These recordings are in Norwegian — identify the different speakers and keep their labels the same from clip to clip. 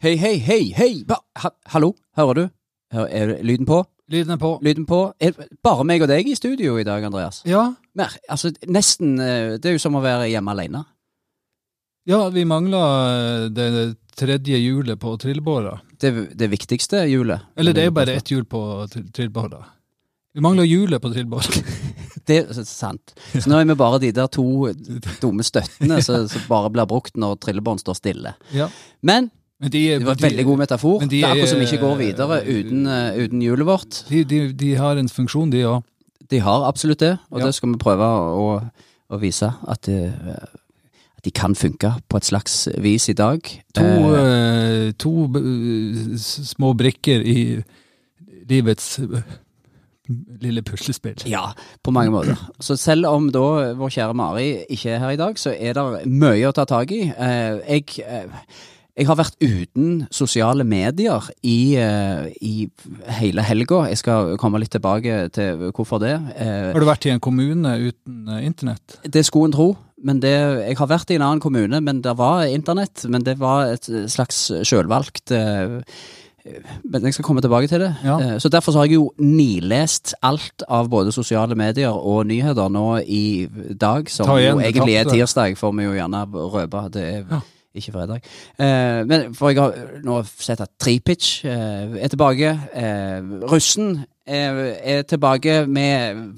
Speaker 1: Hei, hei, hei, hei! Ba ha Hallo, hører du? Hører, er det- lyden på?
Speaker 2: Lyden er på.
Speaker 1: Lyden på? Er det bare meg og deg i studio i dag, Andreas?
Speaker 2: Ja,
Speaker 1: Mer, altså, nesten eh, Det er jo som å være hjemme alene.
Speaker 2: ja vi mangler eh, det tredje hjulet på trillebåra.
Speaker 1: Det, det viktigste hjulet.
Speaker 2: Eller det er jo bare ett hjul på tr- trillebåra. Vi mangler hjulet på trillebåra.
Speaker 1: Det er sant. Så nå er vi bare de der to dumme støttene som som bare blir brukt når trillebånd står stille.
Speaker 2: Ja.
Speaker 1: Men
Speaker 2: Men de, er-
Speaker 1: det var en veldig god metafor.
Speaker 2: men
Speaker 1: Det
Speaker 2: de
Speaker 1: er akkurat som
Speaker 2: er-
Speaker 1: ikke går videre uten, eh, uten hjulet vårt.
Speaker 2: de, de, de har en funksjon, de òg.
Speaker 1: De har absolutt det, og
Speaker 2: Ja.
Speaker 1: det skal vi prøve å, å vise at, eh, at de kan funke på et slags vis i dag.
Speaker 2: To,
Speaker 1: Eh,
Speaker 2: eh, to b- s- små brikker i livets eh, lille puslespill.
Speaker 1: ja, på mange måter. Så selv om da vår kjære Mari ikke er her i dag, så er det mye å ta tak i. Eh, Jeg, eh, jeg har vært uten sosiale medier i, eh, i hele helga. Jeg skal komme litt tilbake til hvorfor det. Eh,
Speaker 2: Har du vært i en kommune uten eh, internett?
Speaker 1: Det skulle en tro. Men det, jeg har vært i en annen kommune, men det var internett. Men det var et slags sjølvalgt eh, Men jeg skal komme tilbake til det.
Speaker 2: Ja.
Speaker 1: Eh, Så derfor så har jeg jo nilest alt av både sosiale medier og nyheter nå i dag, som
Speaker 2: Ta igjen,
Speaker 1: jo
Speaker 2: du
Speaker 1: egentlig er
Speaker 2: tapte.
Speaker 1: tirsdag, får vi jo gjerne røpe. Det er
Speaker 2: Ja.
Speaker 1: ikke fredag. Eh, men for jeg har nå sett at Tripic eh, er tilbake. Eh, russen eh, er tilbake med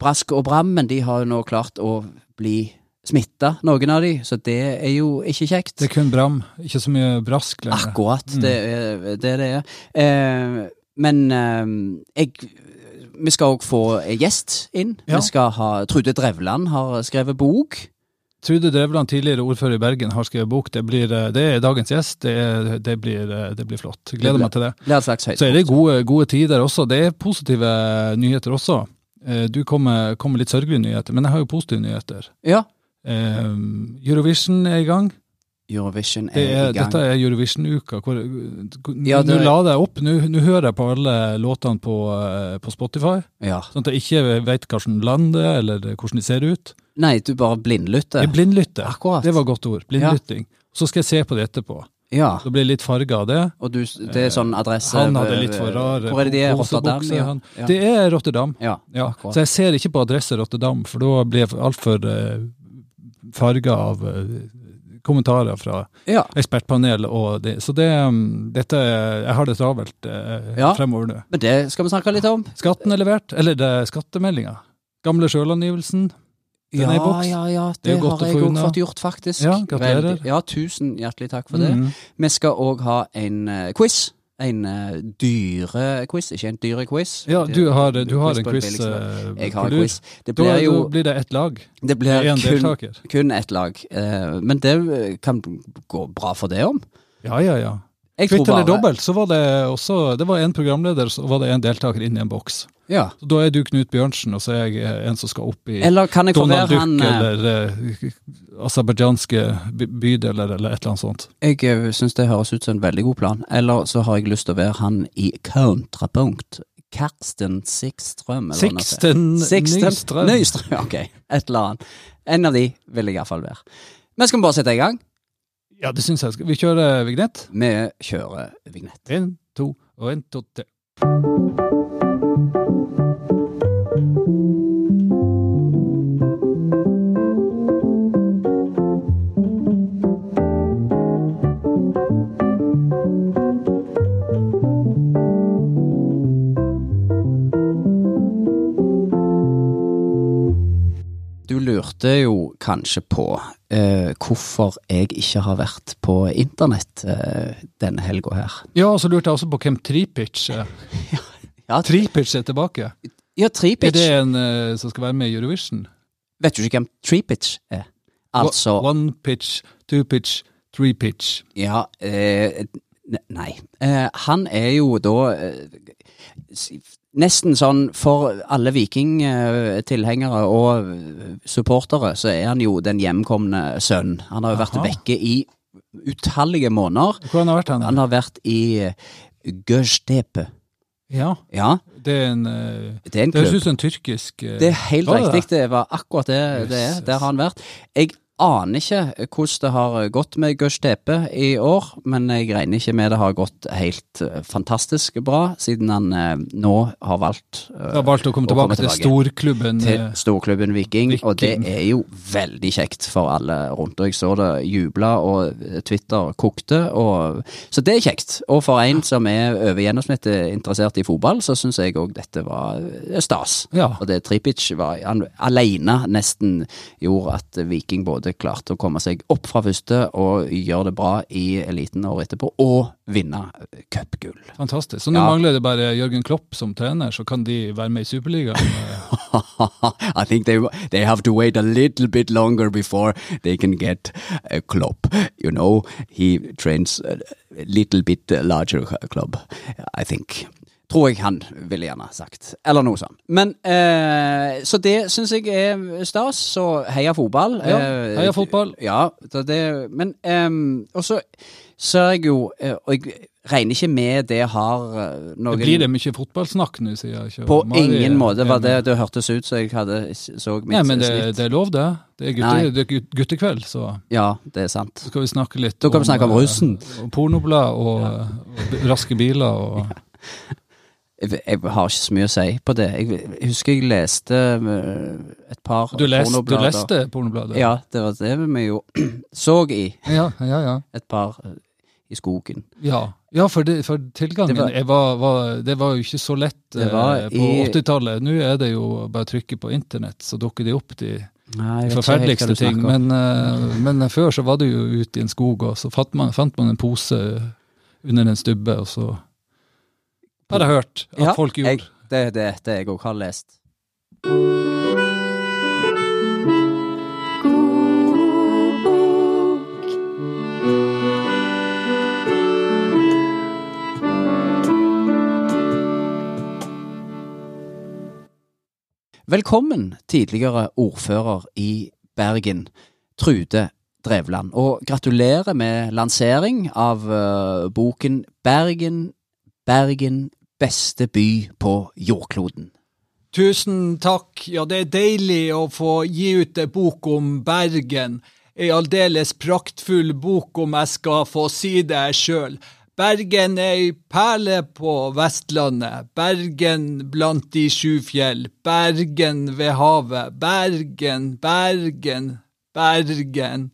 Speaker 1: brask og bram, men de har jo nå klart å bli smitta, noen av de, så det er jo ikke kjekt.
Speaker 2: Det Mm. er kun bram, ikke så mye brask lenger.
Speaker 1: Akkurat, det er det det er. Eh, men eh, jeg Vi skal òg få gjest inn.
Speaker 2: Ja.
Speaker 1: Vi skal ha Trude Drevland har skrevet bok.
Speaker 2: Trude Drevland, tidligere ordfører i Bergen, har skrevet bok. Det, blir, eh, det er dagens gjest. Det, er- det, blir, eh, det blir flott.
Speaker 1: Det
Speaker 2: Gleder
Speaker 1: blir-
Speaker 2: meg til det.
Speaker 1: Blir et slags
Speaker 2: Så
Speaker 1: høyde.
Speaker 2: er det gode, gode tider også. Det er positive nyheter også. Eh, Du kom med, kom med litt sørgelige nyheter, men jeg har jo positive nyheter.
Speaker 1: Ja.
Speaker 2: Eh, Eurovision er i gang.
Speaker 1: Eurovision er,
Speaker 2: Det er,
Speaker 1: i gang.
Speaker 2: dette er Eurovision-uka. hvor-
Speaker 1: Ja,
Speaker 2: Nå
Speaker 1: det er-
Speaker 2: la jeg opp. Nå nå hører jeg på alle låtene på, eh, på Spotify,
Speaker 1: Ja.
Speaker 2: sånn at jeg ikke vet hvilket land det er, eller hvordan de ser ut.
Speaker 1: Nei, du bare blindlytter.
Speaker 2: Jeg blindlytter.
Speaker 1: Akkurat.
Speaker 2: Det var godt ord. Blindlytting. Så skal jeg se på det etterpå.
Speaker 1: Ja.
Speaker 2: Da blir jeg litt farga av det.
Speaker 1: Og du, det er sånn adresse
Speaker 2: Han hadde litt for rar
Speaker 1: Hvor er det de er?
Speaker 2: posebukse,
Speaker 1: Rotterdam? Ja.
Speaker 2: han.
Speaker 1: Ja.
Speaker 2: Det er Rotterdam.
Speaker 1: ja.
Speaker 2: Ja.
Speaker 1: Akkurat.
Speaker 2: Så jeg ser ikke på adresse Rotterdam, for da blir jeg altfor uh, farga av eh, kommentarer fra
Speaker 1: ja.
Speaker 2: ekspertpanel og det. Så det, mm, dette er- Jeg har det travelt eh,
Speaker 1: Ja.
Speaker 2: fremover nå.
Speaker 1: Men det skal vi snakke litt om.
Speaker 2: Skatten er levert, eller det er skattemeldinga. Gamle sjølangivelsen. Den er i boks.
Speaker 1: ja, ja.
Speaker 2: Det
Speaker 1: Det,
Speaker 2: er jo godt
Speaker 1: har
Speaker 2: å
Speaker 1: jeg
Speaker 2: få
Speaker 1: òg
Speaker 2: unna.
Speaker 1: fått gjort, faktisk.
Speaker 2: Ja, gratulerer.
Speaker 1: Veldig. Ja, tusen hjertelig takk for det.
Speaker 2: Mm.
Speaker 1: Vi skal òg ha en eh, quiz. En uh, dyrequiz, ikke en dyrequiz.
Speaker 2: Ja, du har, du har en
Speaker 1: på
Speaker 2: quiz
Speaker 1: billigste.
Speaker 2: eh,
Speaker 1: liksom. Jeg
Speaker 2: på
Speaker 1: har en
Speaker 2: lur.
Speaker 1: quiz. Det
Speaker 2: Da,
Speaker 1: blir jo
Speaker 2: da blir det ett lag.
Speaker 1: Det
Speaker 2: Det
Speaker 1: blir
Speaker 2: er én
Speaker 1: kun,
Speaker 2: deltaker.
Speaker 1: kun ett lag. Eh, men det eh, kan gå bra for det om.
Speaker 2: Ja, ja, ja.
Speaker 1: Jeg
Speaker 2: Kvitt eller
Speaker 1: bare-
Speaker 2: dobbelt, så var det også Det var en programleder, så var det en deltaker inn i en boks.
Speaker 1: Ja.
Speaker 2: Så Da er du Knut Bjørnsen, og så er jeg eh, en som skal opp i
Speaker 1: Eller kan jeg få være
Speaker 2: Donald Duck
Speaker 1: han eh,
Speaker 2: eller eh, aserbajdsjanske by- bydeler eller et eller annet sånt.
Speaker 1: Jeg eh, synes det høres ut som en veldig god plan. Eller så har jeg lyst til å være han i kontrapunkt. Karsten Sikstrøm. eller noe sånt.
Speaker 2: Sixten Nystrøm.
Speaker 1: Nystrøm, ok. Et eller annet. En av de vil jeg iallfall være. Men skal vi bare sette i gang?
Speaker 2: Ja, det syns jeg. Skal vi kjøre vignett?
Speaker 1: Vi kjører vignett.
Speaker 2: Én, to og én, to, tre.
Speaker 1: Du lurte jo kanskje på eh, hvorfor jeg ikke har vært på internett eh, denne helga her.
Speaker 2: Ja, og så lurte jeg også på hvem Tripic er.
Speaker 1: Ja,
Speaker 2: Tripic er tilbake.
Speaker 1: ja
Speaker 2: Er det
Speaker 1: Tripic.
Speaker 2: en eh, som skal være med i Eurovision?
Speaker 1: Vet du ikke hvem Tripic er? Altså
Speaker 2: One pitch, two pitch, three pitch.
Speaker 1: Ja, eh, ne- nei. Eh, han er jo da eh, s- Nesten sånn for alle vikingtilhengere og eh, supportere, så er han jo den hjemkomne sønn. Han har jo vært
Speaker 2: Aha.
Speaker 1: vekke i utallige måneder.
Speaker 2: Hvor han har vært hen?
Speaker 1: Han har vært i eh, Göztepe.
Speaker 2: Ja,
Speaker 1: Ja,
Speaker 2: det er en eh,
Speaker 1: det er en
Speaker 2: Det
Speaker 1: klubb.
Speaker 2: høres ut som en tyrkisk eh,
Speaker 1: Det er helt
Speaker 2: Var det
Speaker 1: riktig, det var akkurat det det er.
Speaker 2: Jesus.
Speaker 1: Der har han vært. Jeg aner ikke hvordan det har gått med Gustepe i år, men jeg regner ikke med det har gått helt eh, fantastisk bra, siden han eh, nå har valgt eh,
Speaker 3: Jeg har valgt å komme
Speaker 1: Å
Speaker 3: tilbake
Speaker 1: komme
Speaker 3: til
Speaker 1: tilbake.
Speaker 3: storklubben.
Speaker 1: til
Speaker 3: eh,
Speaker 1: storklubben Viking, og det
Speaker 3: Viking.
Speaker 1: er jo veldig kjekt for alle rundt. Og jeg så det jubla, og eh, Twitter kokte, og Så det er kjekt. Og for en som er over gjennomsnittet interessert i fotball, så syns jeg òg dette var eh, stas.
Speaker 3: Ja.
Speaker 1: Og det Tripic var han, alene nesten gjorde at Viking både klarte å komme seg opp fra første og gjøre det bra i eliten året etterpå, og vinne eh, cupgull.
Speaker 3: Fantastisk. Så nå
Speaker 1: Ja.
Speaker 3: mangler det bare Jørgen Klopp som trener, så kan de være med i Superligaen.
Speaker 1: I think they they have to wait a little bit longer before they can get a club. You know, he trains a little bit larger club, I think. Tror jeg han ville gjerne sagt. Eller noe sånt. Men eh, Så det syns jeg er stas. Så heia fotball.
Speaker 3: Ja,
Speaker 1: Eh,
Speaker 3: heia fotball.
Speaker 1: Ja, så det Men ehm, Og så ser jeg jo eh, Og jeg regner ikke med det har eh, noen
Speaker 3: Det blir det mye fotballsnakk nå, sier jeg ikke.
Speaker 1: På
Speaker 3: Mari er-
Speaker 1: ingen måte var
Speaker 3: er med.
Speaker 1: det det hørtes ut som jeg hadde så mitt
Speaker 3: Nei, men det,
Speaker 1: snitt.
Speaker 3: det er lov, det. Det er,
Speaker 1: Nei.
Speaker 3: gutte, det er gut- guttekveld, så
Speaker 1: Ja, det er sant.
Speaker 3: skal vi snakke litt
Speaker 1: Da kan vi snakke om
Speaker 3: eh,
Speaker 1: russen.
Speaker 3: og Pornoblad og, og b- raske biler og
Speaker 1: Jeg, jeg har ikke så mye å si på det. Jeg, jeg husker jeg leste eh, et par
Speaker 3: Du, leste- du
Speaker 1: pornoblader.
Speaker 3: leste Pornobladet?
Speaker 1: Ja, det var det vi jo så i
Speaker 3: ja, ja. ja.
Speaker 1: et par eh, i skogen.
Speaker 3: Ja, ja for, det, for tilgangen
Speaker 1: Det var-
Speaker 3: var, var, var, det var jo ikke så lett
Speaker 1: Det
Speaker 3: eh,
Speaker 1: var
Speaker 3: på
Speaker 1: i-
Speaker 3: 80-tallet. Nå er det jo bare å trykke på internett, så dukker de opp, de
Speaker 1: Nei, jeg vet ikke helt hva du
Speaker 3: forferdeligste ting.
Speaker 1: snakker om.
Speaker 3: Men, eh, men før så var det jo ute i en skog, og så fant man, fant man en pose under en stubbe, og så har jeg hørt at
Speaker 1: Ja,
Speaker 3: folk
Speaker 1: jeg,
Speaker 3: gjorde.
Speaker 1: det er det, det jeg òg har lest. Velkommen, tidligere ordfører i Bergen, Trude Drevland. Og gratulerer med lansering av eh, boken 'Bergen, Bergen beste by på jordkloden'.
Speaker 2: Tusen takk. Ja, det er deilig å få gi ut ei bok om Bergen. Ei aldeles praktfull bok, om jeg skal få si det sjøl. Bergen er ei perle på Vestlandet. Bergen blant de sju fjell. Bergen ved havet. Bergen, Bergen, Bergen.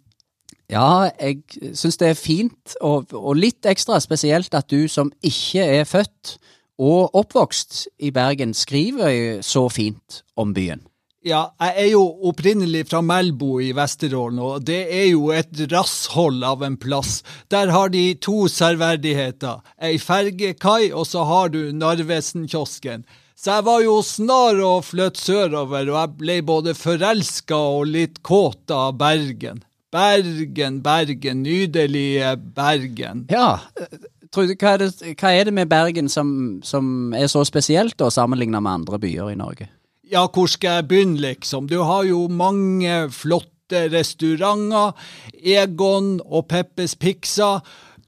Speaker 1: Ja, jeg syns det er fint, og, og litt ekstra spesielt at du som ikke er født og oppvokst i Bergen, skriver så fint om byen.
Speaker 2: Ja, jeg er jo opprinnelig fra Melbu i Vesterålen, og det er jo et rasshold av en plass. Der har de to serverdigheter, ei fergekai, og så har du Narvesen-kiosken. Så jeg var jo snar å flytte sørover, og jeg ble både forelska og litt kåt av Bergen. Bergen, Bergen, nydelige Bergen.
Speaker 1: Ja, eh, Trude, hva er det, hva er det med Bergen som, som er så spesielt da, sammenlignet med andre byer i Norge?
Speaker 2: Ja, hvor skal jeg begynne, liksom? Du har jo mange flotte restauranter. Egon og Peppes Pizza.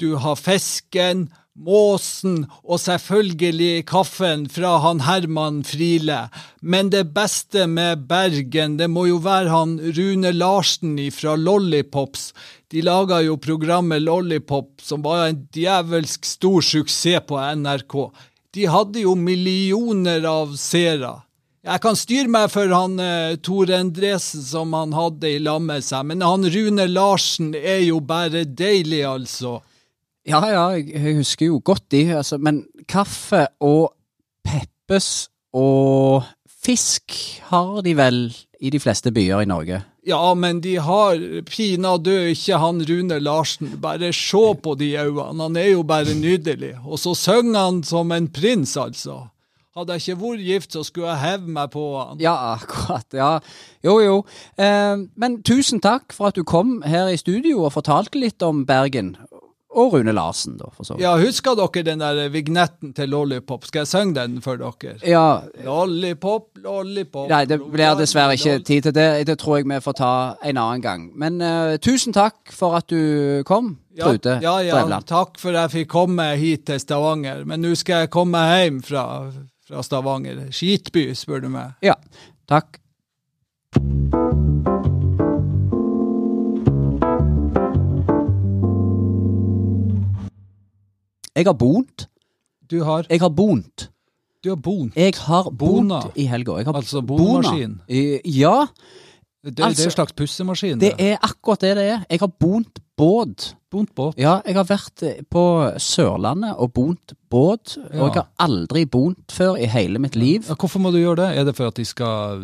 Speaker 2: Du har fisken, måsen og selvfølgelig kaffen fra han Herman Friele. Men det beste med Bergen, det må jo være han Rune Larsen fra Lollipops. De laga jo programmet Lollipop, som var en djevelsk stor suksess på NRK. De hadde jo millioner av seere. Jeg kan styre meg for han eh, Tore Endresen som han hadde i lag med seg, men han Rune Larsen er jo bare deilig, altså.
Speaker 1: Ja, ja, jeg, jeg husker jo godt de, altså, men kaffe og peppes og fisk har de vel i de fleste byer i Norge?
Speaker 2: Ja, men de har pinadø ikke han Rune Larsen. Bare se på de øynene, han er jo bare nydelig. Og så synger han som en prins, altså. Hadde jeg ikke vært gift, så skulle jeg heve meg på han.
Speaker 1: Ja, akkurat. Ja. Jo, jo. Eh, men tusen takk for at du kom her i studio og fortalte litt om Bergen. Og Rune Larsen, da, for så vidt.
Speaker 2: Ja, husker dere den der vignetten til Lollipop? Skal jeg synge den for dere?
Speaker 1: Ja.
Speaker 2: Lollipop, lollipop
Speaker 1: Eh. Nei, det blir dessverre ikke tid til det. Det tror jeg vi får ta en annen gang. Men eh, tusen takk for at du kom, Trude
Speaker 2: ja, ja,
Speaker 1: Drevland.
Speaker 2: takk for jeg fikk komme hit til Stavanger. Men nå skal jeg komme hjem fra, fra Stavanger. Skitby, spør du meg.
Speaker 1: Ja. Takk. Jeg har bont.
Speaker 2: Du har,
Speaker 1: Jeg har bont.
Speaker 2: du har bon.
Speaker 1: Jeg har
Speaker 2: Bona.
Speaker 1: bont i helga. Jeg har
Speaker 2: Altså
Speaker 1: bona.
Speaker 2: bonmaskin.
Speaker 1: Eh, Ja,
Speaker 2: Det, det er
Speaker 1: Altså,
Speaker 2: jo en slags pussemaskin.
Speaker 1: det er akkurat det det er. Jeg har bont båt.
Speaker 2: Bont båt.
Speaker 1: Ja, jeg har vært eh, på Sørlandet og bont båt, og
Speaker 2: Ja.
Speaker 1: jeg har aldri bont før i hele mitt liv.
Speaker 2: Ja, hvorfor må du gjøre det? Er det for at de skal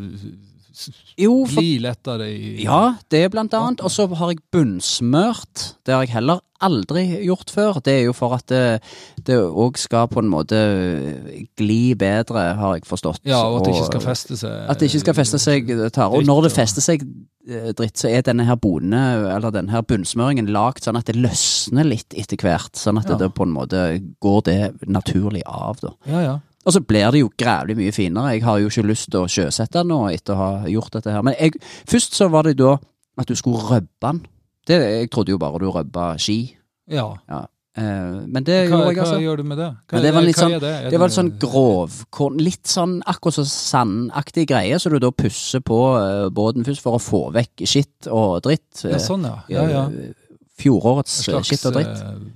Speaker 1: Jo, for
Speaker 2: gli lettere i
Speaker 1: Ja, det blant annet. Og så har jeg bunnsmørt. Det har jeg heller aldri gjort før. Det er jo for at det- det òg skal på en måte eh, gli bedre, har jeg forstått.
Speaker 2: Ja, og at det ikke skal feste seg.
Speaker 1: At det ikke skal feste seg tare. Og
Speaker 2: dritt,
Speaker 1: når det
Speaker 2: ja.
Speaker 1: fester seg eh, dritt, så er denne her bone, eller denne her bunnsmøringen lagd sånn at det løsner litt etter hvert. Sånn at
Speaker 2: Ja.
Speaker 1: det på en måte går det naturlig av, da.
Speaker 2: Ja, ja.
Speaker 1: Og så blir det jo grævlig mye finere. Jeg har jo ikke lyst til å sjøsette den nå etter å ha gjort dette her. Men jeg, først så var det da at du skulle røbbe den. Det, jeg trodde jo bare du røbba ski.
Speaker 2: ja.
Speaker 1: Eh, men det
Speaker 2: Hva,
Speaker 1: gjorde jeg
Speaker 2: hva
Speaker 1: altså.
Speaker 2: gjør du med det? Hva,
Speaker 1: Ja, det var litt sånn-
Speaker 2: er det? Er
Speaker 1: Det var litt sånn grovkorn, litt sånn akkurat sånn sandaktig greie, så du da pusser på eh, båten først for å få vekk skitt og dritt.
Speaker 2: Ja, sånn, ja. ja, ja.
Speaker 1: Eh, Fjorårets
Speaker 2: En slags,
Speaker 1: skitt og dritt.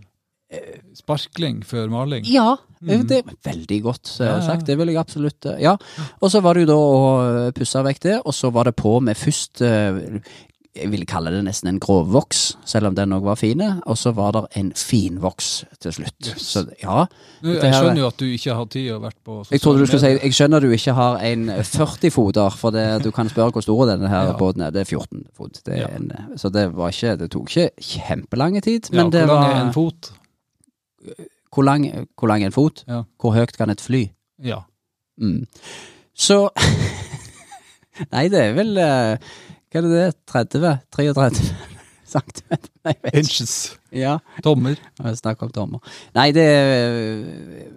Speaker 2: eh, sparkling før maling.
Speaker 1: Ja, eh,
Speaker 2: Mm.
Speaker 1: det er veldig godt eh,
Speaker 2: Ja, ja.
Speaker 1: sagt. Det vil jeg absolutt eh, Ja. Og så var det jo da å eh, pusse vekk det, og så var det på med først eh, Jeg vil kalle det nesten en grovvoks, selv om den òg var fin. Og så var det en finvoks til slutt.
Speaker 2: Yes.
Speaker 1: Så ja.
Speaker 2: Nå,
Speaker 1: Dette
Speaker 2: jeg
Speaker 1: her-
Speaker 2: skjønner jo at du ikke har tid og vært på
Speaker 1: Jeg trodde du skulle si Jeg skjønner du ikke har en 40-foter, for det, du kan spørre hvor stor denne her
Speaker 2: Ja.
Speaker 1: båten er. Det er 14 fot. Det er
Speaker 2: Ja.
Speaker 1: en, eh, så det var ikke Det tok ikke kjempelange tid,
Speaker 2: ja,
Speaker 1: men det
Speaker 2: Hvor lang er
Speaker 1: var
Speaker 2: en fot?
Speaker 1: Hvor lang, hvor lang er en fot?
Speaker 2: Ja.
Speaker 1: Hvor høyt kan et fly?
Speaker 2: Ja.
Speaker 1: Mm. Så Nei, det er vel eh, Hva er det det er? 30? 33 centimeter? Nei, jeg vet ikke.
Speaker 2: Inches.
Speaker 1: Ja,
Speaker 2: Tommer.
Speaker 1: snakk om tommer. Nei, det er eh,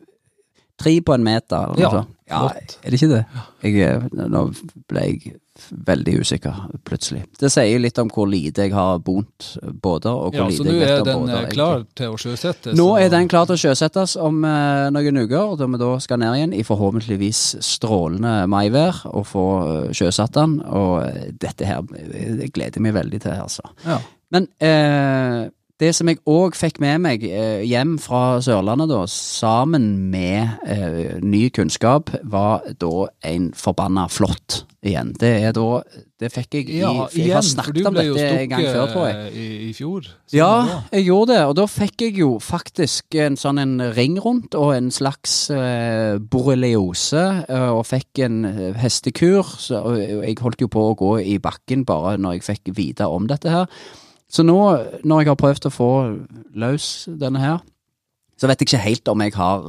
Speaker 1: tre på en meter. Eller
Speaker 2: Ja,
Speaker 1: noe sånt. ja,
Speaker 2: flott.
Speaker 1: er det ikke det? Jeg, eh, nå ble jeg veldig usikker plutselig. Det sier litt om hvor lite jeg har bont båter, og hvor
Speaker 2: Ja, så
Speaker 1: lite
Speaker 2: nå
Speaker 1: jeg
Speaker 2: er
Speaker 1: vet om
Speaker 2: den eh,
Speaker 1: båter. egentlig.
Speaker 2: klar til å sjøsette.
Speaker 1: Nå
Speaker 2: så-
Speaker 1: er den klar til å sjøsettes om eh, noen uker, da vi da skal ned igjen i forhåpentligvis strålende maivær og få eh, sjøsatt den. Og eh, dette her eh, jeg gleder jeg meg veldig til, altså.
Speaker 2: Ja.
Speaker 1: Men eh, det som jeg òg fikk med meg eh, hjem fra Sørlandet, da, sammen med eh, ny kunnskap, var da en forbanna flått igjen. Det er da Det fikk jeg i
Speaker 2: Ja,
Speaker 1: Jeg
Speaker 2: igjen,
Speaker 1: har
Speaker 2: for du
Speaker 1: snakket om
Speaker 2: ble jo
Speaker 1: dette en gang før, tror jeg.
Speaker 2: stukket eh, i, i fjor. Så det
Speaker 1: Ja,
Speaker 2: var-
Speaker 1: jeg gjorde det, og da fikk jeg jo faktisk en sånn en ring rundt og en slags eh, borreliose, eh, og fikk en eh, hestekur. Så, og jeg holdt jo på å gå i bakken bare når jeg fikk vite om dette her. Så nå, når jeg har prøvd å få løs denne her, så vet jeg ikke helt om jeg har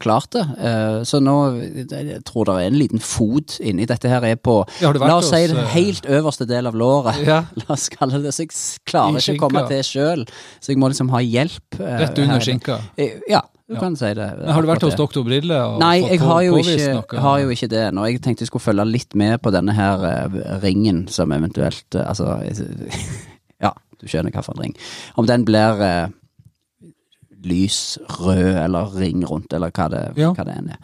Speaker 1: klart det. Eh, Så nå jeg tror det er en liten fot inni dette her er på
Speaker 2: Ja, har du vært
Speaker 1: La oss si
Speaker 2: hos,
Speaker 1: den
Speaker 2: eh,
Speaker 1: helt øverste del av låret.
Speaker 2: ja.
Speaker 1: La oss kalle det så jeg s- klarer ikke
Speaker 2: I
Speaker 1: å
Speaker 2: skinka.
Speaker 1: komme til sjøl, så jeg må liksom ha hjelp. eh,
Speaker 2: Rett under
Speaker 1: her.
Speaker 2: skinka.
Speaker 1: Eh, Ja, du
Speaker 2: Ja.
Speaker 1: kan si det.
Speaker 2: Men har du vært hos
Speaker 1: Akkurat det.
Speaker 2: doktor Brille og
Speaker 1: Nei,
Speaker 2: fått
Speaker 1: jeg
Speaker 2: på-
Speaker 1: har jo,
Speaker 2: påvist
Speaker 1: ikke,
Speaker 2: noe?
Speaker 1: har jo ikke det ennå. Jeg tenkte jeg skulle følge litt med på denne her eh, ringen som eventuelt eh, Altså Ja, du skjønner hvilken ring. Om den blir eh, lys, rød eller ring rundt, eller hva det,
Speaker 2: Ja.
Speaker 1: hva det enn er.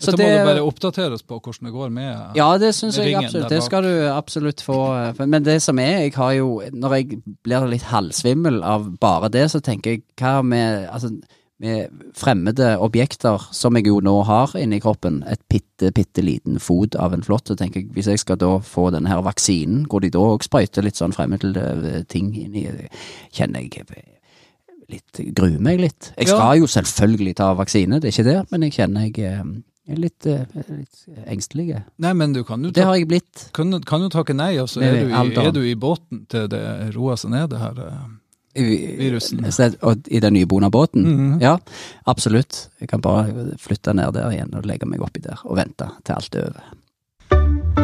Speaker 2: Så må du bare oppdatere oss på hvordan det går med
Speaker 1: Ja, det syns jeg
Speaker 2: ringen
Speaker 1: absolutt.
Speaker 2: der
Speaker 1: Det
Speaker 2: bak.
Speaker 1: skal du absolutt få. eh, for- Men det som er, jeg har jo Når jeg blir litt halvsvimmel av bare det, så tenker jeg hva med altså, med fremmede objekter, som jeg jo nå har inni kroppen, et bitte, bitte liten fot av en flått, så tenker jeg hvis jeg skal da få denne her vaksinen, hvor de da òg sprøyter litt sånn fremmede eh, ting inni, kjenner jeg litt gruer meg litt. Jeg
Speaker 2: Ja.
Speaker 1: skal jo selvfølgelig ta vaksine, det er ikke det, men jeg kjenner jeg eh, er litt, eh, litt engstelig.
Speaker 2: Nei, men du kan jo,
Speaker 1: Det
Speaker 2: ta,
Speaker 1: har jeg blitt.
Speaker 2: kan, kan jo takke nei, og så
Speaker 1: Nei,
Speaker 2: er du, i,
Speaker 1: alderen.
Speaker 2: er du i båten til det roer seg ned, det her. eh. Virusen.
Speaker 1: Så- Og I den nye bonabåten?
Speaker 2: Mhm.
Speaker 1: Ja, absolutt. Jeg kan bare flytte ned der igjen og legge meg oppi der og vente til alt er over.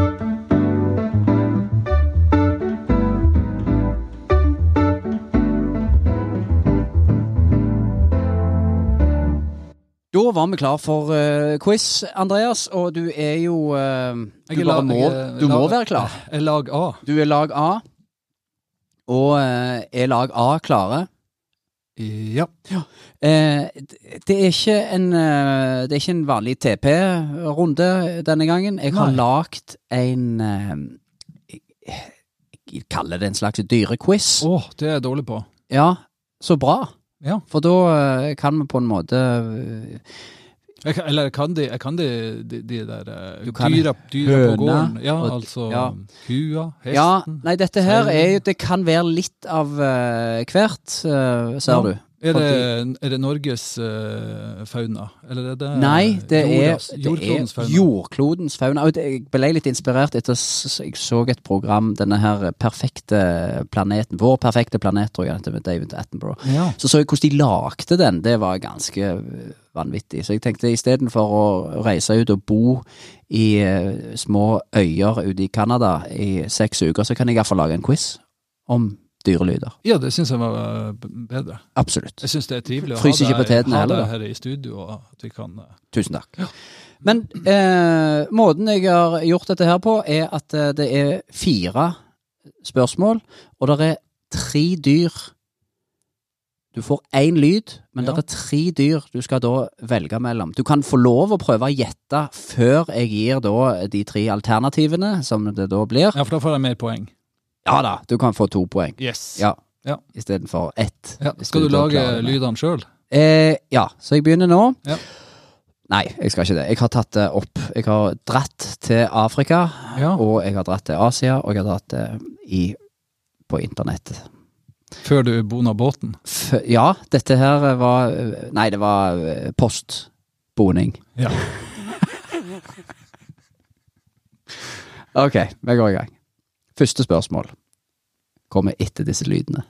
Speaker 1: Da var vi klar for eh, quiz, Andreas, og du er jo eh,
Speaker 2: Jeg
Speaker 1: Du bare
Speaker 2: er la-
Speaker 1: må,
Speaker 2: jeg er
Speaker 1: du må
Speaker 2: la-
Speaker 1: være klar.
Speaker 2: Er lag A.
Speaker 1: Du er lag A, og eh, er lag A klare?
Speaker 2: Ja.
Speaker 1: Eh, d- det, er ikke en, eh, det er ikke en vanlig TP-runde denne gangen. Jeg har
Speaker 2: Nei.
Speaker 1: lagd en eh, jeg, jeg kaller det en slags dyrequiz.
Speaker 2: Å, det er jeg dårlig på.
Speaker 1: Ja, så bra.
Speaker 2: Ja.
Speaker 1: For da eh, kan vi på en måte
Speaker 2: Jeg kan, eller jeg kan de, jeg kan de, de, de der eh,
Speaker 1: Du kan
Speaker 2: dyra, dyra
Speaker 1: høna
Speaker 2: på gården? Ja,
Speaker 1: og-
Speaker 2: altså
Speaker 1: ja.
Speaker 2: kua,
Speaker 1: Ja,
Speaker 2: hesten.
Speaker 1: nei, dette her
Speaker 2: Seil.
Speaker 1: er jo Det kan være litt av eh, hvert, eh, ser
Speaker 2: Ja.
Speaker 1: du.
Speaker 2: er, det, er det Norges eh, fauna? Eller er det
Speaker 1: Nei, det er,
Speaker 2: jordas-
Speaker 1: det
Speaker 2: Eh, altså, jordklodens
Speaker 1: er
Speaker 2: fauna?
Speaker 1: jordklodens fauna. Og det- Jeg ble litt inspirert etter s- jeg så et program, denne her eh, perfekte planeten, Vår perfekte planet, tror jeg den heter, med David Attenborough.
Speaker 2: Ja.
Speaker 1: Så så jeg hvordan de lagde den, det var ganske eh, vanvittig. Så jeg tenkte istedenfor å reise ut og bo i eh, små øyer ute i Canada i seks uker, så kan jeg iallfall lage en quiz om dyrelyder.
Speaker 2: ja, det syns jeg var eh, b- bedre.
Speaker 1: Absolutt.
Speaker 2: Jeg syns det er trivelig å
Speaker 1: Fryser ikke
Speaker 2: ha deg-
Speaker 1: potetene
Speaker 2: ha
Speaker 1: heller,
Speaker 2: deg
Speaker 1: da.
Speaker 2: her i studio. og at vi kan... eh,
Speaker 1: Tusen takk. Men eh, måten jeg har gjort dette her på, er at eh, det er fire spørsmål, og det er tre dyr. Du får én lyd, men
Speaker 2: Ja.
Speaker 1: det er tre dyr du skal da velge mellom. Du kan få lov å prøve å gjette før jeg gir da de tre alternativene, som det da blir.
Speaker 2: Ja, for da får jeg mer poeng.
Speaker 1: Ja da, du kan få to poeng
Speaker 2: Yes.
Speaker 1: Ja.
Speaker 2: Ja.
Speaker 1: istedenfor ett.
Speaker 2: Ja,
Speaker 1: hvis
Speaker 2: skal du
Speaker 1: da
Speaker 2: lage
Speaker 1: klarer det.
Speaker 2: lydene sjøl?
Speaker 1: Eh, ja, så jeg begynner nå.
Speaker 2: Ja.
Speaker 1: Nei, jeg skal ikke det. Jeg har tatt det opp. Jeg har dratt til Afrika,
Speaker 2: Ja.
Speaker 1: og jeg har dratt til Asia, og jeg har dratt eh, i, på internett.
Speaker 2: Før du bona båten?
Speaker 1: F ja, dette her var eh, Nei, det var eh, postboning.
Speaker 2: Ja.
Speaker 1: Ok, vi går i gang. Første spørsmål kommer etter disse lydene.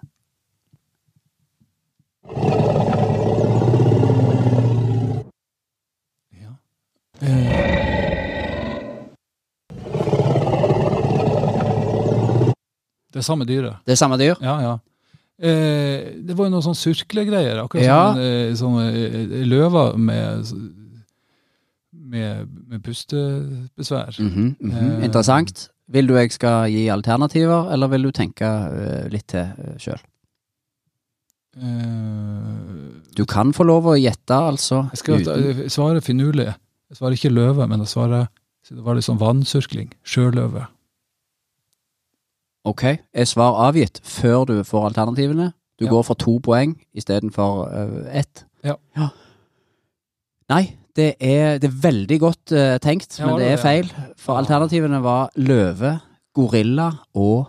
Speaker 2: ja. Det er samme dyret.
Speaker 1: Det er samme dyr.
Speaker 2: Ja, ja. Eh, det var jo noen sånn surklegreier. Akkurat
Speaker 1: Ja.
Speaker 2: som en, eh, sånn, eh, løver med, med, med pustebesvær.
Speaker 1: Mhm, mhm.
Speaker 2: Eh.
Speaker 1: Interessant. Vil du jeg skal gi alternativer, eller vil du tenke eh, litt til uh, sjøl?
Speaker 2: Eh,
Speaker 1: Du kan få lov å gjette, altså.
Speaker 2: jeg skal
Speaker 1: uten-
Speaker 2: jeg svarer eh, finurlig. Jeg svarer ikke løve, men jeg svarer det var litt sånn vannsurkling. Sjøløve.
Speaker 1: Ok, er svar avgitt før du får alternativene? Du
Speaker 2: Ja.
Speaker 1: går for to poeng istedenfor uh, ett?
Speaker 2: Ja.
Speaker 1: Nei, det er, det er veldig godt eh, tenkt,
Speaker 2: Ja,
Speaker 1: men
Speaker 2: det
Speaker 1: det
Speaker 2: var
Speaker 1: er feil.
Speaker 2: det,
Speaker 1: For
Speaker 2: Ja.
Speaker 1: alternativene var løve, gorilla og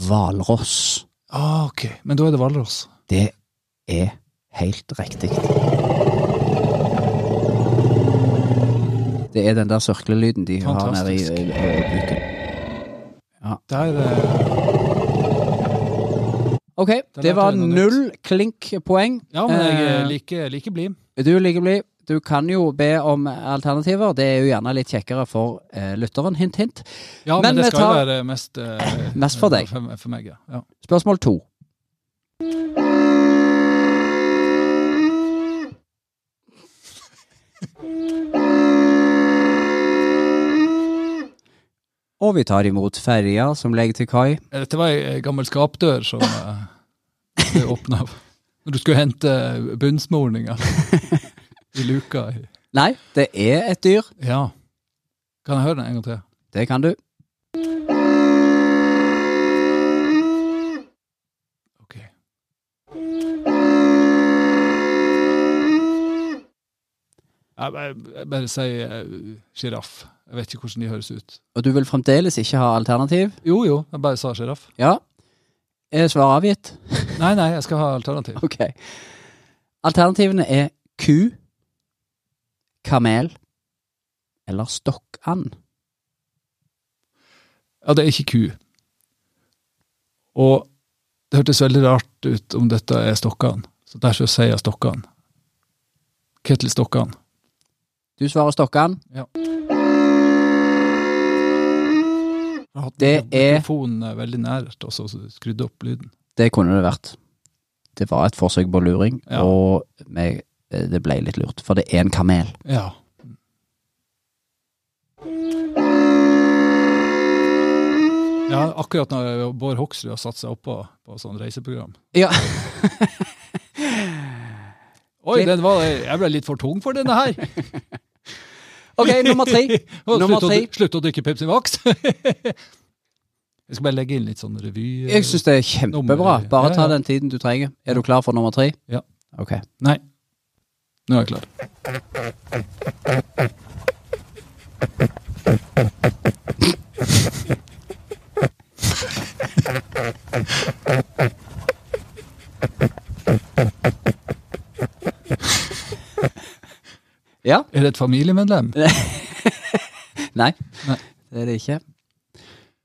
Speaker 1: hvalross.
Speaker 2: Ah, ok. Men da er det hvalross.
Speaker 1: Det er helt riktig. Det er den der sørklelyden de har nede i, eh,
Speaker 2: Fantastisk.
Speaker 1: i, i buken.
Speaker 2: Der eh,
Speaker 1: Ok, det
Speaker 2: lærte
Speaker 1: var
Speaker 2: vi noe nytt.
Speaker 1: null klinkpoeng.
Speaker 2: Ja, men jeg
Speaker 1: Eh,
Speaker 2: er like, like blid.
Speaker 1: Du ligger blid. Du kan jo be om alternativer. Det er jo gjerne litt kjekkere for eh, lytteren. Hint, hint.
Speaker 2: Ja, men,
Speaker 1: men vi
Speaker 2: det skal
Speaker 1: tar-
Speaker 2: jo være mest eh,
Speaker 1: Mest for deg.
Speaker 2: For, for meg, ja. ja.
Speaker 1: Spørsmål to. Og vi tar imot ferja som legger til kai.
Speaker 2: Eh, Dette var ei ei gammel skapdør som eh, ble åpna av. Når du skulle hente bunnsmorninger i luka. i-
Speaker 1: Nei, det er et dyr.
Speaker 2: Ja. Kan jeg høre den en gang til?
Speaker 1: Det kan du.
Speaker 2: Ok. Jeg, jeg, jeg bare sier eh, sjiraff. jeg vet ikke hvordan de høres ut.
Speaker 1: Og du vil fremdeles ikke ha alternativ?
Speaker 2: Jo jo, jeg bare sa sjiraff.
Speaker 1: Ja. Er svaret avgitt?
Speaker 2: Nei, nei, jeg skal ha alternativ.
Speaker 1: Ok. Alternativene er ku, kamel eller stokkand.
Speaker 2: Ja, det er ikke ku. Og det hørtes veldig rart ut om dette er Stokkan. Så derfor sier jeg Stokkan. Ketil Stokkan.
Speaker 1: Du svarer stokkand.
Speaker 2: Jeg har hatt
Speaker 1: Det er-
Speaker 2: Mikrofonen er veldig nært, og så skrudde opp lyden.
Speaker 1: Det kunne det vært. Det var et forsøk på luring,
Speaker 2: Ja.
Speaker 1: og meg, eh, det ble litt lurt, for det er en kamel.
Speaker 2: Ja. Ja, akkurat når Bård Hoksrud har satt seg oppå på sånn reiseprogram.
Speaker 1: Ja.
Speaker 2: Oi, den var, jeg ble litt for tung for denne her!
Speaker 1: Ok, nummer tre.
Speaker 2: Og
Speaker 1: Nummer
Speaker 2: slutt, å,
Speaker 1: tre.
Speaker 2: dri- slutt å drikke Pepsi Max. jeg skal bare legge inn litt sånn revy.
Speaker 1: Jeg syns det er kjempebra.
Speaker 2: Nummer-
Speaker 1: Bare
Speaker 2: Ja,
Speaker 1: ta
Speaker 2: ja.
Speaker 1: den tiden du trenger. Er du klar for nummer tre?
Speaker 2: Ja.
Speaker 1: Ok.
Speaker 2: Nei. Nå er jeg klar.
Speaker 1: Ja?
Speaker 2: Er det et familiemedlem?
Speaker 1: Nei.
Speaker 2: Nei.
Speaker 1: Det er det ikke.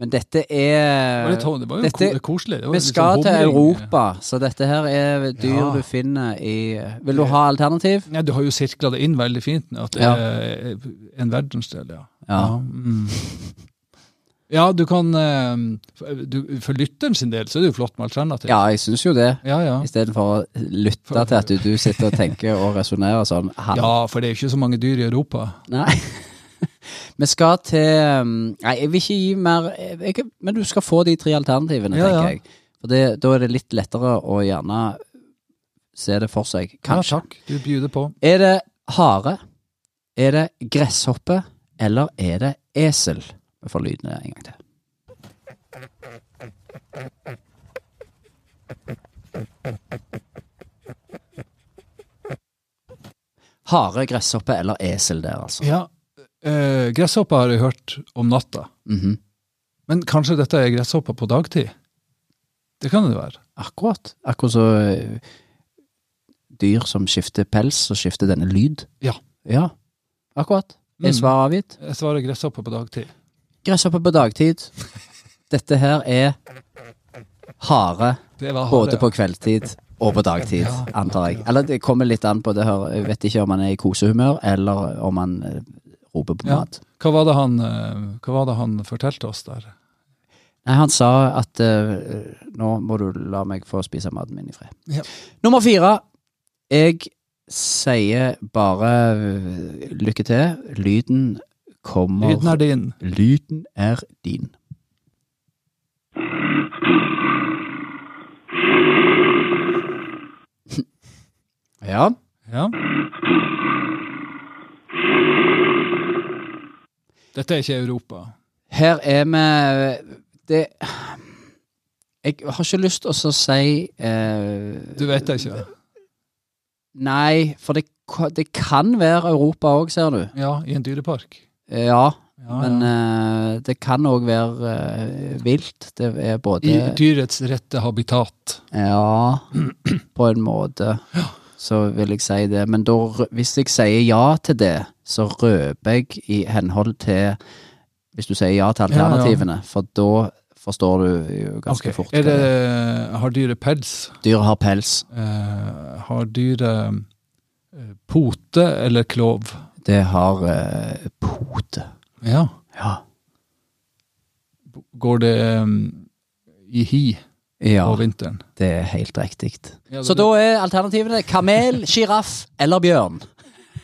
Speaker 1: Men dette
Speaker 2: Det var,
Speaker 1: er
Speaker 2: litt, det var jo
Speaker 1: Dette-
Speaker 2: ko- koselig. Det var
Speaker 1: Vi
Speaker 2: litt
Speaker 1: skal
Speaker 2: sånn
Speaker 1: til
Speaker 2: humring.
Speaker 1: Europa, så dette her er dyr
Speaker 2: Ja.
Speaker 1: du finner i Vil du ha alternativ?
Speaker 2: Nei, du har jo sirkla det inn veldig fint. med At det
Speaker 1: Ja.
Speaker 2: er en verdensdel, ja.
Speaker 1: Ja.
Speaker 2: mm. ja, du kan eh, for- du, For lytteren sin del så er det jo flott med alternativ.
Speaker 1: Ja, jeg syns jo det.
Speaker 2: ja. ja.
Speaker 1: Istedenfor å lytte til at du, du sitter og tenker og resonnerer sånn. Han.
Speaker 2: Ja, for det er jo ikke så mange dyr i Europa.
Speaker 1: Nei. Vi skal til um, Nei, jeg vil ikke gi mer jeg, Men du skal få de tre alternativene,
Speaker 2: Ja, ja.
Speaker 1: tenker jeg. For det, da er det litt lettere å gjerne se det for seg. Kanskje.
Speaker 2: Ja, takk. Du bjuder på.
Speaker 1: Er det hare? Er det gresshoppe? Eller er det esel? Vi får lydene en gang til. Hare, gresshoppe eller esel der, altså.
Speaker 2: Ja, eh, Gresshopper har jeg hørt om natta.
Speaker 1: Mhm.
Speaker 2: Men kanskje dette er gresshopper på dagtid? Det kan det være.
Speaker 1: Akkurat. Akkurat så ø, dyr som skifter pels, så skifter denne lyd.
Speaker 2: Ja.
Speaker 1: Ja, akkurat. Er
Speaker 2: Mm.
Speaker 1: svaret avgitt?
Speaker 2: Jeg svarer gresshopper på dagtid.
Speaker 1: Gresshoppe på dagtid. Dette her er hare
Speaker 2: Det var
Speaker 1: både
Speaker 2: harde.
Speaker 1: på kveldstid og på dagtid, antar jeg. Eller det kommer litt an på det her. Jeg vet ikke om man er i kosehumør, eller om man ø, roper på
Speaker 2: Ja.
Speaker 1: mat.
Speaker 2: Hva var det han, eh, hva var det han fortalte oss der?
Speaker 1: Nei, han sa at eh, nå må du la meg få spise maten min i fred.
Speaker 2: Ja.
Speaker 1: Nummer fire. Jeg sier bare eh, lykke til. Lyden kommer
Speaker 2: Lyden er din.
Speaker 1: Lyden er din. Ja.
Speaker 2: Ja. Dette er ikke Europa.
Speaker 1: Her er vi Det Jeg har ikke lyst til å så si eh,
Speaker 2: Du vet det ikke?
Speaker 1: Nei, for det, ka- det kan være Europa òg, ser du.
Speaker 2: Ja, i en dyrepark.
Speaker 1: Ja,
Speaker 2: Ja,
Speaker 1: men
Speaker 2: ja.
Speaker 1: eh, det kan òg være eh, vilt. eh, Det er både
Speaker 2: I dyrets rette habitat.
Speaker 1: Ja, på en måte. Så vil jeg si det. Men da, rø- hvis jeg sier ja til det, så røper jeg i henhold til Hvis du sier ja til
Speaker 2: Ja, ja.
Speaker 1: alternativene, for da forstår du jo ganske
Speaker 2: Ok.
Speaker 1: fort.
Speaker 2: Er
Speaker 1: hva
Speaker 2: det,
Speaker 1: det er.
Speaker 2: har dyret pels?
Speaker 1: Dyret har pels.
Speaker 2: Eh, har dyret eh, pote eller klov?
Speaker 1: Det har eh, pote.
Speaker 2: Ja.
Speaker 1: Ja.
Speaker 2: Går det eh, i hi
Speaker 1: ja.
Speaker 2: på vinteren?
Speaker 1: Det er helt riktig.
Speaker 2: Ja, det-
Speaker 1: Så da er alternativene kamel, sjiraff eller bjørn.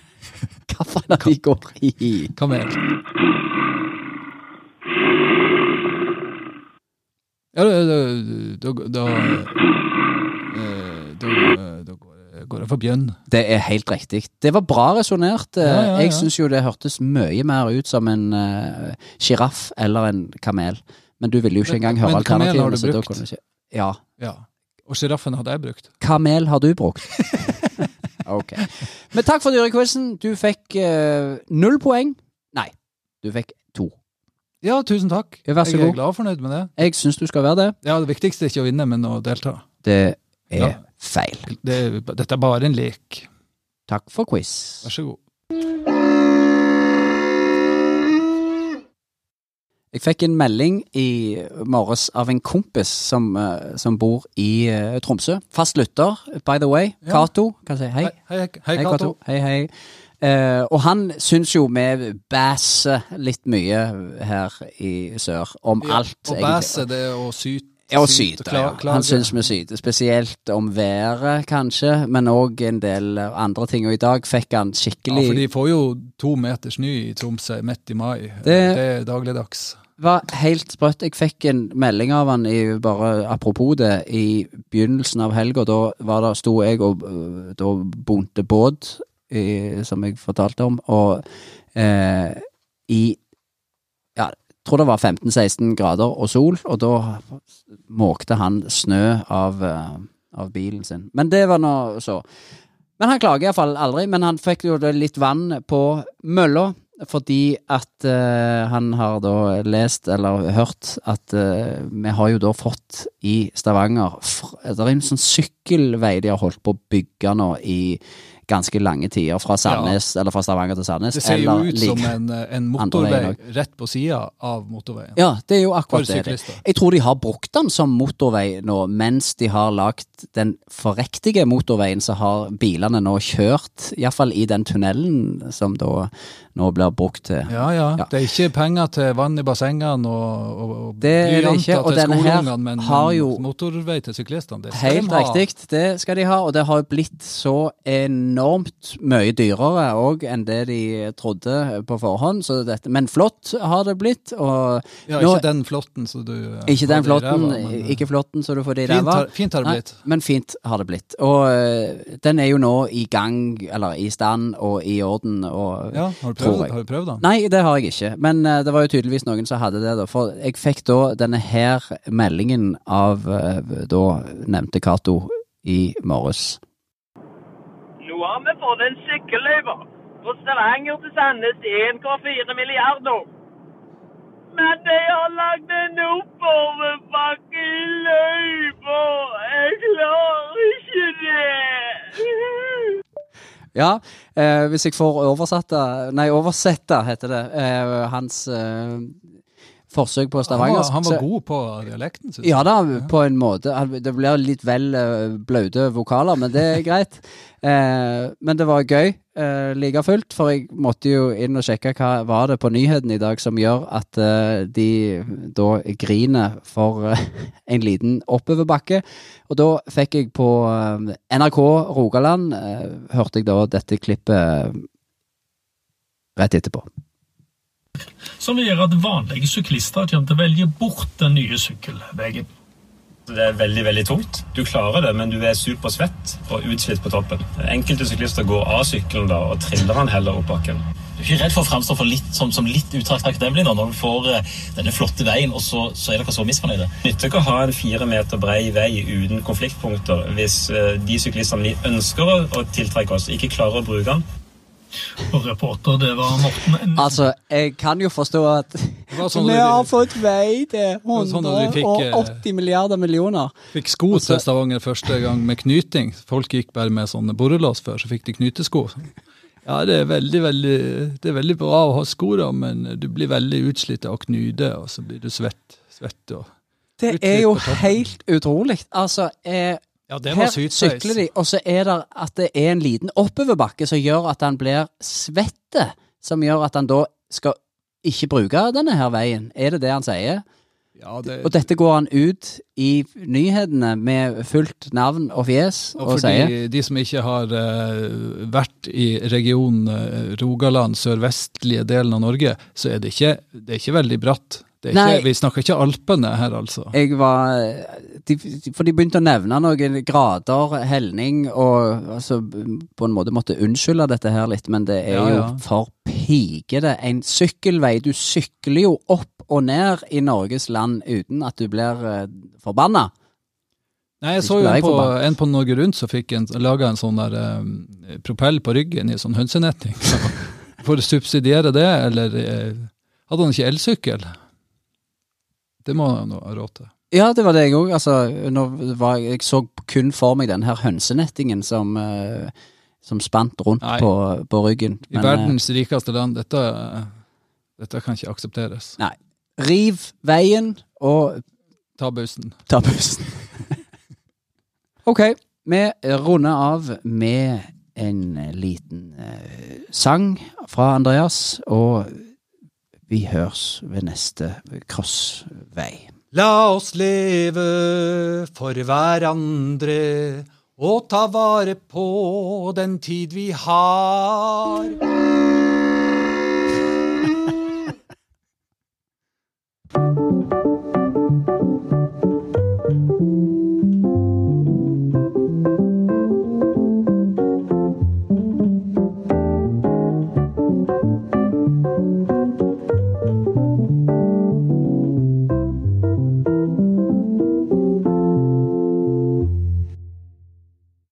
Speaker 1: Hva faen er det de går i?
Speaker 2: Kamel. Ja, da Da, da, da, eh, da, da går, jeg- går jeg for bjønn.
Speaker 1: Det er helt riktig. Det var bra resonnert.
Speaker 2: Ja, ja, ja.
Speaker 1: Jeg syns jo det hørtes mye mer ut som en eh, sjiraff eller en kamel. Men du ville jo ikke
Speaker 2: Men-
Speaker 1: engang høre
Speaker 2: men kamel har
Speaker 1: alternativene.
Speaker 2: du
Speaker 1: så da
Speaker 2: brukt?
Speaker 1: kunne du ikke- Ja.
Speaker 2: Ja. Og sjiraffen hadde jeg brukt.
Speaker 1: Kamel har du brukt? ok. Men takk for dyrequizen. Du fikk eh, null poeng. Nei, du fikk to.
Speaker 2: Ja, tusen takk.
Speaker 1: Ja, vær så
Speaker 2: jeg er
Speaker 1: god.
Speaker 2: glad og fornøyd med det.
Speaker 1: Jeg syns du skal være det.
Speaker 2: Ja, Det viktigste er ikke å vinne, men å delta.
Speaker 1: Det er
Speaker 2: Ja.
Speaker 1: feil.
Speaker 2: Det, er- dette er bare en lek.
Speaker 1: Takk for quiz.
Speaker 2: Vær så god.
Speaker 1: Jeg fikk en melding i morges av en kompis som, eh, som bor i eh, Tromsø. Fast lytter, by the way.
Speaker 2: Ja.
Speaker 1: Cato. Kan jeg si hei?
Speaker 2: hei, hei, hei Cato.
Speaker 1: Hei, hei. Eh, og han syns jo vi bæser litt mye her i sør om alt.
Speaker 2: Å
Speaker 1: egentlig.
Speaker 2: bæse, det er å syte.
Speaker 1: Ja, og
Speaker 2: syte,
Speaker 1: syte.
Speaker 2: kla-
Speaker 1: ja.
Speaker 2: klage.
Speaker 1: Han syns vi syter. Spesielt om været, kanskje, men òg en del eh, andre ting. Og i dag fikk han
Speaker 2: Ja,
Speaker 1: skikkelig
Speaker 2: for de får jo to meter snø i Tromsø midt i mai. Eh, Det,
Speaker 1: Det-
Speaker 2: er dagligdags.
Speaker 1: var helt sprøtt. Jeg fikk en melding av han i, bare apropos det, i begynnelsen av helga. Da var det, sto jeg og øh, da bonte båt, i, som jeg fortalte om, og eh, i ja, jeg tror det var 15-16 grader og sol, og da måkte han snø av eh, av bilen sin. Men det var nå så. Men han klager iallfall aldri. Men han fikk jo da litt vann på mølla fordi at eh, han har da lest eller hørt at eh, vi har jo da fått i Stavanger fr- Det er en sånn sykkelvei de har holdt på å bygge nå i ganske lange tider, fra Sandnes, eller fra Stavanger til Sandnes.
Speaker 4: Det ser jo
Speaker 1: eller
Speaker 4: ut
Speaker 1: lik-
Speaker 4: som en,
Speaker 2: eh,
Speaker 4: en
Speaker 1: andre
Speaker 4: motorvei
Speaker 1: veien
Speaker 4: rett på sida av motorveien.
Speaker 1: ja, det er jo
Speaker 4: For
Speaker 1: akkurat det. det.
Speaker 4: syklister.
Speaker 1: Jeg tror de har brukt den som motorvei nå, mens de har lagt den forrektige motorveien, så har bilene nå kjørt, iallfall i den tunnelen som da nå blir brukt til.
Speaker 2: Ja, ja.
Speaker 1: Ja.
Speaker 2: Det er ikke penger til vann i bassengene og, og, og
Speaker 1: Det er det ikke, og
Speaker 2: til
Speaker 1: denne her
Speaker 2: skoleungene, men,
Speaker 1: har jo-
Speaker 2: men motorvei til syklistene. det skal
Speaker 1: Helt
Speaker 2: de ha.
Speaker 1: riktig, det skal de ha, og det har blitt så enormt mye dyrere òg enn det de trodde på forhånd, så dette, men flott har det blitt. Og
Speaker 2: Ja,
Speaker 1: nå,
Speaker 2: ikke den flåtten som du eh,
Speaker 1: ikke den
Speaker 2: hadde i ræva,
Speaker 1: flåtten,
Speaker 2: men, eh,
Speaker 1: ikke flåtten så du får det i
Speaker 2: Fint
Speaker 1: ræva.
Speaker 2: har, fint har det blitt.
Speaker 1: Nei, men fint har det blitt. Og eh, den er jo nå i gang, eller i stand og i orden og
Speaker 2: Ja, har du
Speaker 1: Tror
Speaker 2: prøvd,
Speaker 1: jeg.
Speaker 2: har du prøvd den?
Speaker 1: Nei, det har jeg ikke. Men eh, det var jo tydeligvis noen som hadde det, da. For jeg fikk da denne her meldingen av eh, da nevnte Cato i morges.
Speaker 5: Nå har vi fått en sykkelløyper fra Stavanger til Sandnes til 1,4 milliarder. Men de har lagd en oppoverbakke i løypa! Jeg klarer ikke det!
Speaker 1: Ja, eh, hvis jeg får oversatt det Nei, oversette, heter det. Eh, hans eh, forsøk på
Speaker 2: Han var,
Speaker 1: stavangersk.
Speaker 2: han
Speaker 1: så-
Speaker 2: var god på dialekten, syns jeg.
Speaker 1: Ja da, på en måte. Han- Det blir litt vel eh, blaute vokaler, men det er greit. Eh, men det var gøy eh, like fullt, for jeg måtte jo inn og sjekke hva var det på nyheten i dag som gjør at eh, de da griner for eh, en liten oppoverbakke. Og da fikk jeg på eh, NRK Rogaland, eh, hørte jeg da dette klippet eh, rett etterpå.
Speaker 6: som vil gjøre at vanlige syklister kommer til å velge bort den nye sykkelveien.
Speaker 7: Det er veldig veldig tungt. Du klarer det, men du er supersvett og utslitt på toppen. Enkelte syklister går av sykkelen da, og triller han heller opp bakken.
Speaker 8: Du er ikke redd for å fremstå for litt, som, som litt utrakt takknemlig nå, når du får eh, denne flotte veien, og så, så er dere så misfornøyde?
Speaker 7: Nytter ikke å ha en fire meter brei vei uten konfliktpunkter hvis eh, de syklistene vi ønsker å- å tiltrekke oss, ikke klarer å bruke den.
Speaker 6: Og reporter, det var Morten N.
Speaker 1: Altså, jeg kan jo forstå at
Speaker 2: var sånn
Speaker 1: vi
Speaker 2: at du-
Speaker 1: har fått eh, vei til
Speaker 2: var sånn at du fikk,
Speaker 1: 180 milliarder millioner.
Speaker 2: Fikk sko til Stavanger første gang med knyting. Folk gikk bare med sånne borrelås før, så fikk de knytesko. Ja, det er veldig, veldig, det er veldig bra å ha sko, da, men du blir veldig utslitt av å knyte, og så blir du svett. svett og...
Speaker 1: Det
Speaker 2: Utslipp
Speaker 1: er jo
Speaker 2: på toppen.
Speaker 1: helt utrolig. Altså, eh,
Speaker 2: Ja,
Speaker 1: her sykler de, og så er det at det er en liten oppoverbakke som gjør at han blir svette, som gjør at han da skal ikke bruke denne her veien. Er det det han sier?
Speaker 2: Ja, det,
Speaker 1: Og dette går han ut i nyhetene med fullt navn og fjes og,
Speaker 2: og for
Speaker 1: sier.
Speaker 2: de, de som ikke har eh, vært i regionen eh, Rogaland, sørvestlige delen av Norge, så er det ikke, det er ikke veldig bratt. Det er
Speaker 1: Nei.
Speaker 2: ikke, vi snakker ikke Alpene her, altså.
Speaker 1: jeg var de, de- For de begynte å nevne noen grader helning, og altså, på en måte måtte unnskylde dette her litt, men det er
Speaker 2: Ja,
Speaker 1: jo
Speaker 2: ja.
Speaker 1: for pikete. En sykkelvei Du sykler jo opp og ned i Norges land uten at du blir eh, forbanna.
Speaker 2: Nei, jeg
Speaker 1: Ikke
Speaker 2: så jo
Speaker 1: ble
Speaker 2: en
Speaker 1: jeg
Speaker 2: på,
Speaker 1: forbanna.
Speaker 2: en på Norge Rundt som fikk en, laga en sånn der eh, propell på ryggen i sånn hønsenetting. Så For å subsidiere det, eller eh, Hadde han ikke elsykkel? Det må han ha råd til.
Speaker 1: Ja, det var det jeg òg. Altså, nå var jeg, jeg så kun for meg den her hønsenettingen som, eh, som spant rundt
Speaker 2: Nei.
Speaker 1: på, på ryggen.
Speaker 2: I
Speaker 1: Men, eh,
Speaker 2: verdens rikeste land, dette, dette kan ikke aksepteres.
Speaker 1: Nei. Riv veien og
Speaker 2: Ta bussen.
Speaker 1: ta pusten. ok, vi runder av med en liten eh, sang fra Andreas, og vi høres ved neste crossvei.
Speaker 4: La oss leve for hverandre og ta vare på den tid vi har.